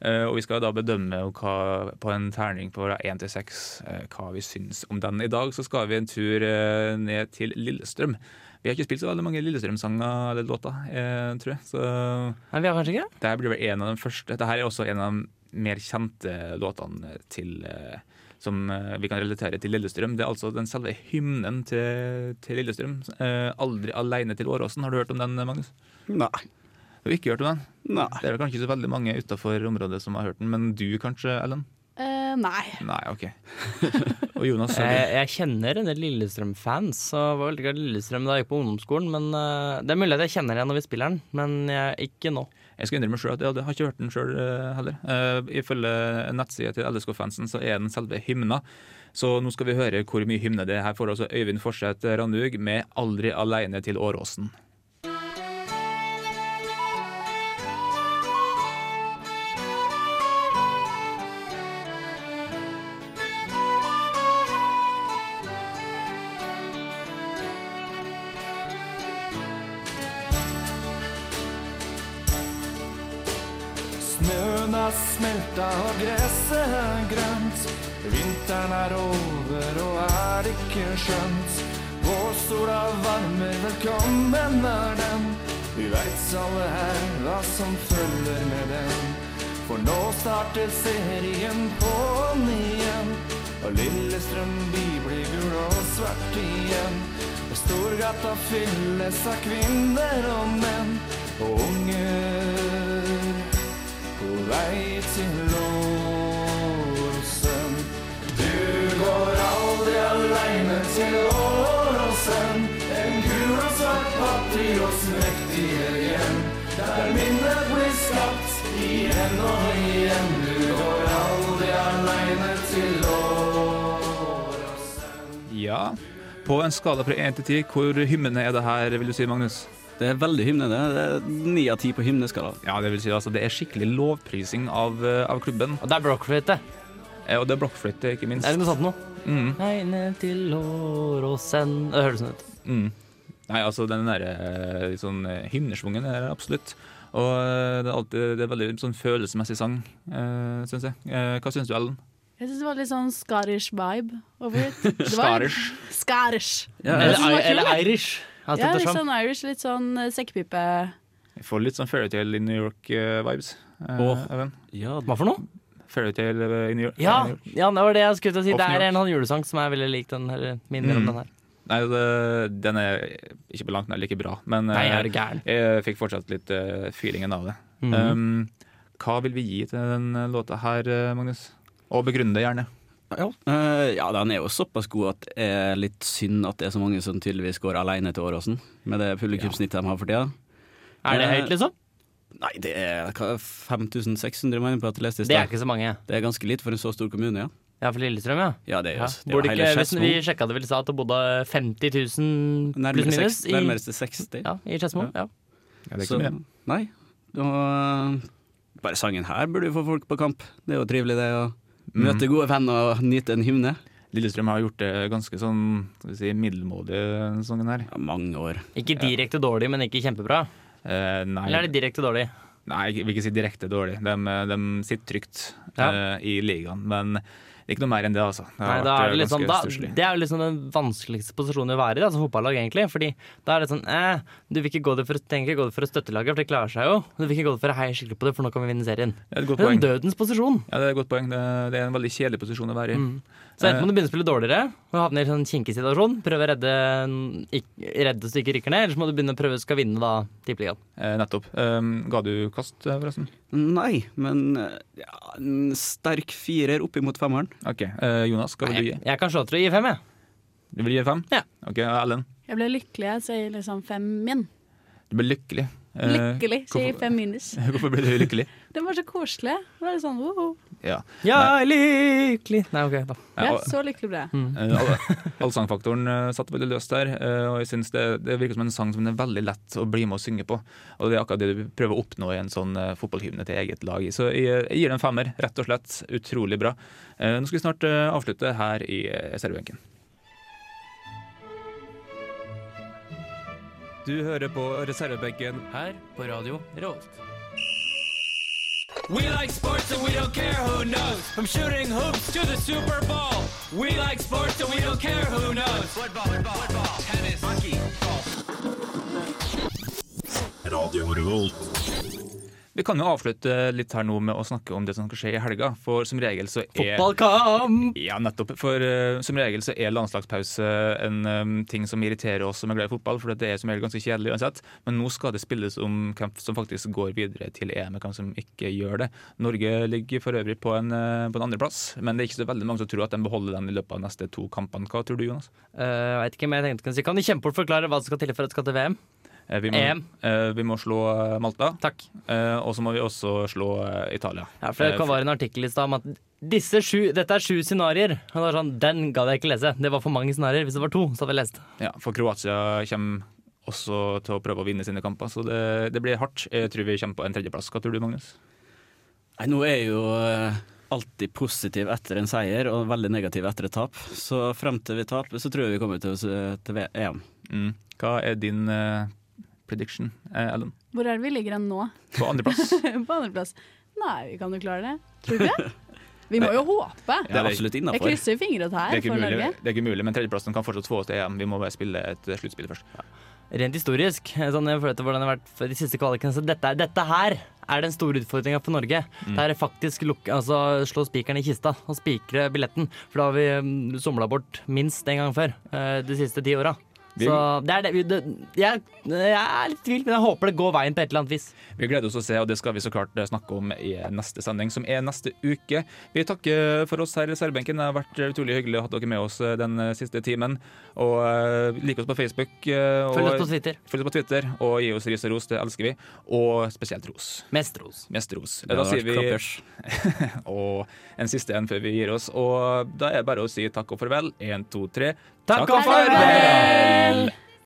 eh, og vi skal da bedømme hva, på en terning på fra 1 til 6 eh, hva vi syns om den. I dag så skal vi en tur eh, ned til Lillestrøm. Vi har ikke spilt så veldig mange Lillestrøm-sanger eller låter, eh, tror jeg. Så Nei, vi har kanskje ikke? det her blir vel en av de første. Dette her er også en av de mer kjente låtene til eh, som eh, vi kan relatere til Lillestrøm. Det er altså den selve hymnen til, til Lillestrøm. Eh, 'Aldri aleine til Åråsen'. Har du hørt om den, Magnus? Nei. Du har ikke hørt om den? Nei. Det er vel kanskje ikke så veldig mange utafor området som har hørt den, men du kanskje, Ellen? Eh, nei. Nei, OK. Og Jonas? har du- Eh, Jeg, jeg kjenner en del Lillestrøm-fans. Og var veldig glad i Lillestrøm da jeg gikk på ungdomsskolen. Men eh, Det er mulig at jeg kjenner den når vi spiller den, men jeg, ikke nå. Jeg skal innrømme selv at jeg hadde- har ikke hørt den sjøl heller. Eh, ifølge nettsida til LSK-fansen så er den selve hymna. Så nå skal vi høre hvor mye hymne det er. Her får altså Øyvind Forseth Randug med 'Aldri aleine til Åråsen'. Snøen har smelta og gresset er grønt. Vinteren er over og er ikke skjønt. Vårsola varmer, velkommen er den. Vi veit alle her hva som følger med den. For nå starter serien på'n igjen. Og Lillestrøm by blir gul og svart igjen. Og Storgata fylles av kvinner og menn og unger på vei til Åråsen. Du går aldri aleine til Åråsen. En gul og svart patrios mektiger hjem, der minnet blir skapt igjen og igjen. Du går aldri aleine til Åråsen. Ja. På en skala fra 1 til 10, hvor hymnende er det her, vil du si, Magnus? Det er veldig hymnende. Det er Ni av ti på hymneskala. Ja, det vil si altså, det er skikkelig lovprising av, eh, av klubben. Og det er blockfløyte. Eh, og det er blockfløyte, ikke minst. Er det noe sånt nå? Mm. Nei, ned til Åråsen Det høres sånn ut. Mm. Nei, altså den der eh, litt sånn eh, hymnesvungen er det absolutt. Og eh, det er alltid det er veldig sånn følelsesmessig sang, uh, syns jeg. Eh, hva syns du, Ellen? Jeg syns det var litt sånn Scottish vibe over it. Det var- Scottish. Scottish. Ja, altså, Det eller- som var kult, eller da. Irish, alt Ja, litt ettersom. sånn Irish, litt sånn eh, sekkepipe. Jeg får litt sånn fairytale in New eh, York-vibes. Åh, Hva for noe? Fairytale eh, in New York. Ja, New York. ja, det var det jeg skulle til å si. Of Det New er York. en sånn julesang som er veldig lik den, eller minner om Mm. den her. Nei, det, den er ikke på langt nær like bra, men Nei, er du eh, gæren? jeg fikk fortsatt litt eh, feelingen av det. Mhm. Um, hva vil vi gi til den eh, låta her, eh, Magnus? Og begrunn det gjerne. Ja. Eh, ja, den er jo såpass god at det er litt synd at det er så mange som tydeligvis går alene til Åråsen, med det publikumssnittet de har for tida. Er det Eh, høyt, liksom? Nei, det er hva, 5600 mener jeg på at jeg leste i Det er sted. ikke så mange. Det er ganske litt for en så stor kommune, ja. Ja, for Lillestrøm, ja. Ja, det er jo det er Ja. jo Bor det hele ikke, hvis vi Skedsmo. sjekka det vel i stad, at det bodde 50 000 Nærmere pluss minus seks- nærmere til 60. Ja, i Skedsmo. Ja. Ja, det er ikke Så- mye. Nei. Og, bare sangen her burde jo få folk på kamp. Det er jo trivelig, det. Mhm. Å møte gode venner og nyte en hymne. Lillestrøm har gjort det ganske sånn skal vi si, middelmådig denne sesongen her. Ja, mange år. Ikke direkte dårlig, men ikke kjempebra. Eh, nei, Eller er det direkte dårlig? nei, jeg vil ikke si direkte dårlig. De, eh, de sitter trygt eh, i ligaen, men det er ikke noe mer enn det, altså. Det Nei, har da vært, er det, eh, liksom, ganske da, stusslig. det er jo liksom den vanskeligste posisjonen å være i da, som fotballag, egentlig. Fordi da er det sånn eh, Du vil ikke gå det for, trenger ikke gå det for å støtte laget, for det klarer seg jo. Du vil ikke gå det for å heie skikkelig på det, for nå kan vi vinne serien. Det er et godt Det er poeng. en dødens posisjon. Ja, det er et godt poeng. Det, det er en veldig kjedelig posisjon å Mm. være i. Så Eh. enten må du begynne å spille dårligere og havne i en sånn kinkig situasjon, prøve å redde, ikk- redde så du ikke rykker ned, eller så må du begynne å prøve å skal vinne da tippeligaen. Eh, nettopp. Eh, ga du kast, eh, forresten? Nei, men eh, ja, en sterk firer oppimot femmeren. OK. Eh, Jonas, hva vil du gi? Jeg kan slå til å gi fem, jeg. Du vil gi fem? Ja. OK, Ellen. Jeg ble lykkelig, jeg sier liksom fem min. Du ble lykkelig. Eh, Lykkelig, sier hvorfor- fem minus. Hvorfor ble du lykkelig? Den var så koselig. Det var litt sånn, wow. Ja. Ja, lykkelig Nei, OK, da. ja, og- så lykkelig ble jeg. Eh, alle- Allsangfaktoren eh, satt veldig løst der, eh, og jeg synes det, det virker som en sang som det er veldig lett å bli med å synge på. Og det er akkurat det du prøver å oppnå i en sånn eh, fotballhymne til eget lag. Så jeg, jeg gir den femmer, rett og slett. Utrolig bra. Eh, Nå skal vi snart eh, avslutte her i eh, servebenken. Du hører på reservebenken her på radio Rolt. We like sports and we don't care who knows. From shooting hoops to the Super Bowl. We like sports and we don't care who knows. Football, football, football, tennis, hockey, Radio Revolt. Vi kan jo avslutte litt her nå med å snakke om det som skal skje i helga. For som regel så er Fotballkamp! Ja, nettopp. For eh, som regel så er landslagspause en eh, ting som irriterer oss som er glad i fotball, for det er som regel ganske kjedelig uansett. Men nå skal det spilles om hvem som faktisk går videre til EM, og hvem som ikke gjør det. Norge ligger for øvrig på en, eh, på en andreplass, men det er ikke så veldig mange som tror at de beholder den i løpet av de neste to kampene. Hva tror du, Jonas? Eh, Jeg vet ikke, men jeg tenkte å si Kan du kjempefort forklare hva som skal til for at det skal til VM? Eh, Vi må, EM. eh, vi må slå eh, Malta. Eh, og så må vi også slå eh, Italia. Ja, for Eh, Det var en artikkel i stad om at disse sju, dette er sju scenarioer. Og det var sånn, Den gadd jeg ikke lese. Det var for mange scenarioer. Hvis det var to, så hadde jeg lest. Ja, for Kroatia kommer også til å prøve å vinne sine kamper, så det, det blir hardt. Jeg tror vi kommer på en tredjeplass. Hva tror du, Magnus? Nei, nå er jeg jo eh, alltid positiv etter en seier og veldig negativ etter et tap. Så frem til vi taper, så tror jeg vi kommer til, oss, eh, til V- EM. Mm. Hva er din eh, prediction, eh, Ellen? Hvor er det vi ligger hen nå? På andreplass? På andreplass. Nei, vi kan jo klare det. Tror du det? Vi må jo håpe. Det er absolutt innenfor. Jeg krysser fingrene det, her er ikke for mulig, Norge. det er ikke mulig, men tredjeplassen kan fortsatt få oss til EM. Vi må bare spille et eh, sluttspill først. Rent historisk, sånn i forhold til hvordan det har vært for de siste kvalikene, så dette, er- dette her er den store utfordringa for Norge. Mm. Det er faktisk lukke, altså, slå spikeren i kista og spikre billetten. For da har vi mm, somla bort minst en gang før eh, de siste ti åra. Vi- Så det er det, vi- det jeg, jeg er litt i tvil, men jeg håper det går veien på et eller annet vis. Vi gleder oss å se, og det skal vi så klart eh, snakke om i neste sending, som er neste uke. Vi takker eh, for oss her i Særbenken. Det har vært eh, utrolig hyggelig å ha dere med oss eh, den siste timen. Og eh, lik oss på Facebook. eh, og, Følg oss på Twitter. Følg oss på Twitter, og gi oss ris og ros. Det elsker vi. Og spesielt ros. Mest ros. Mest ros. Det da hadde sier vært vi Og en siste en før vi gir oss. Og da er det bare å si takk og farvel. Én, to, tre. Takk og farvel!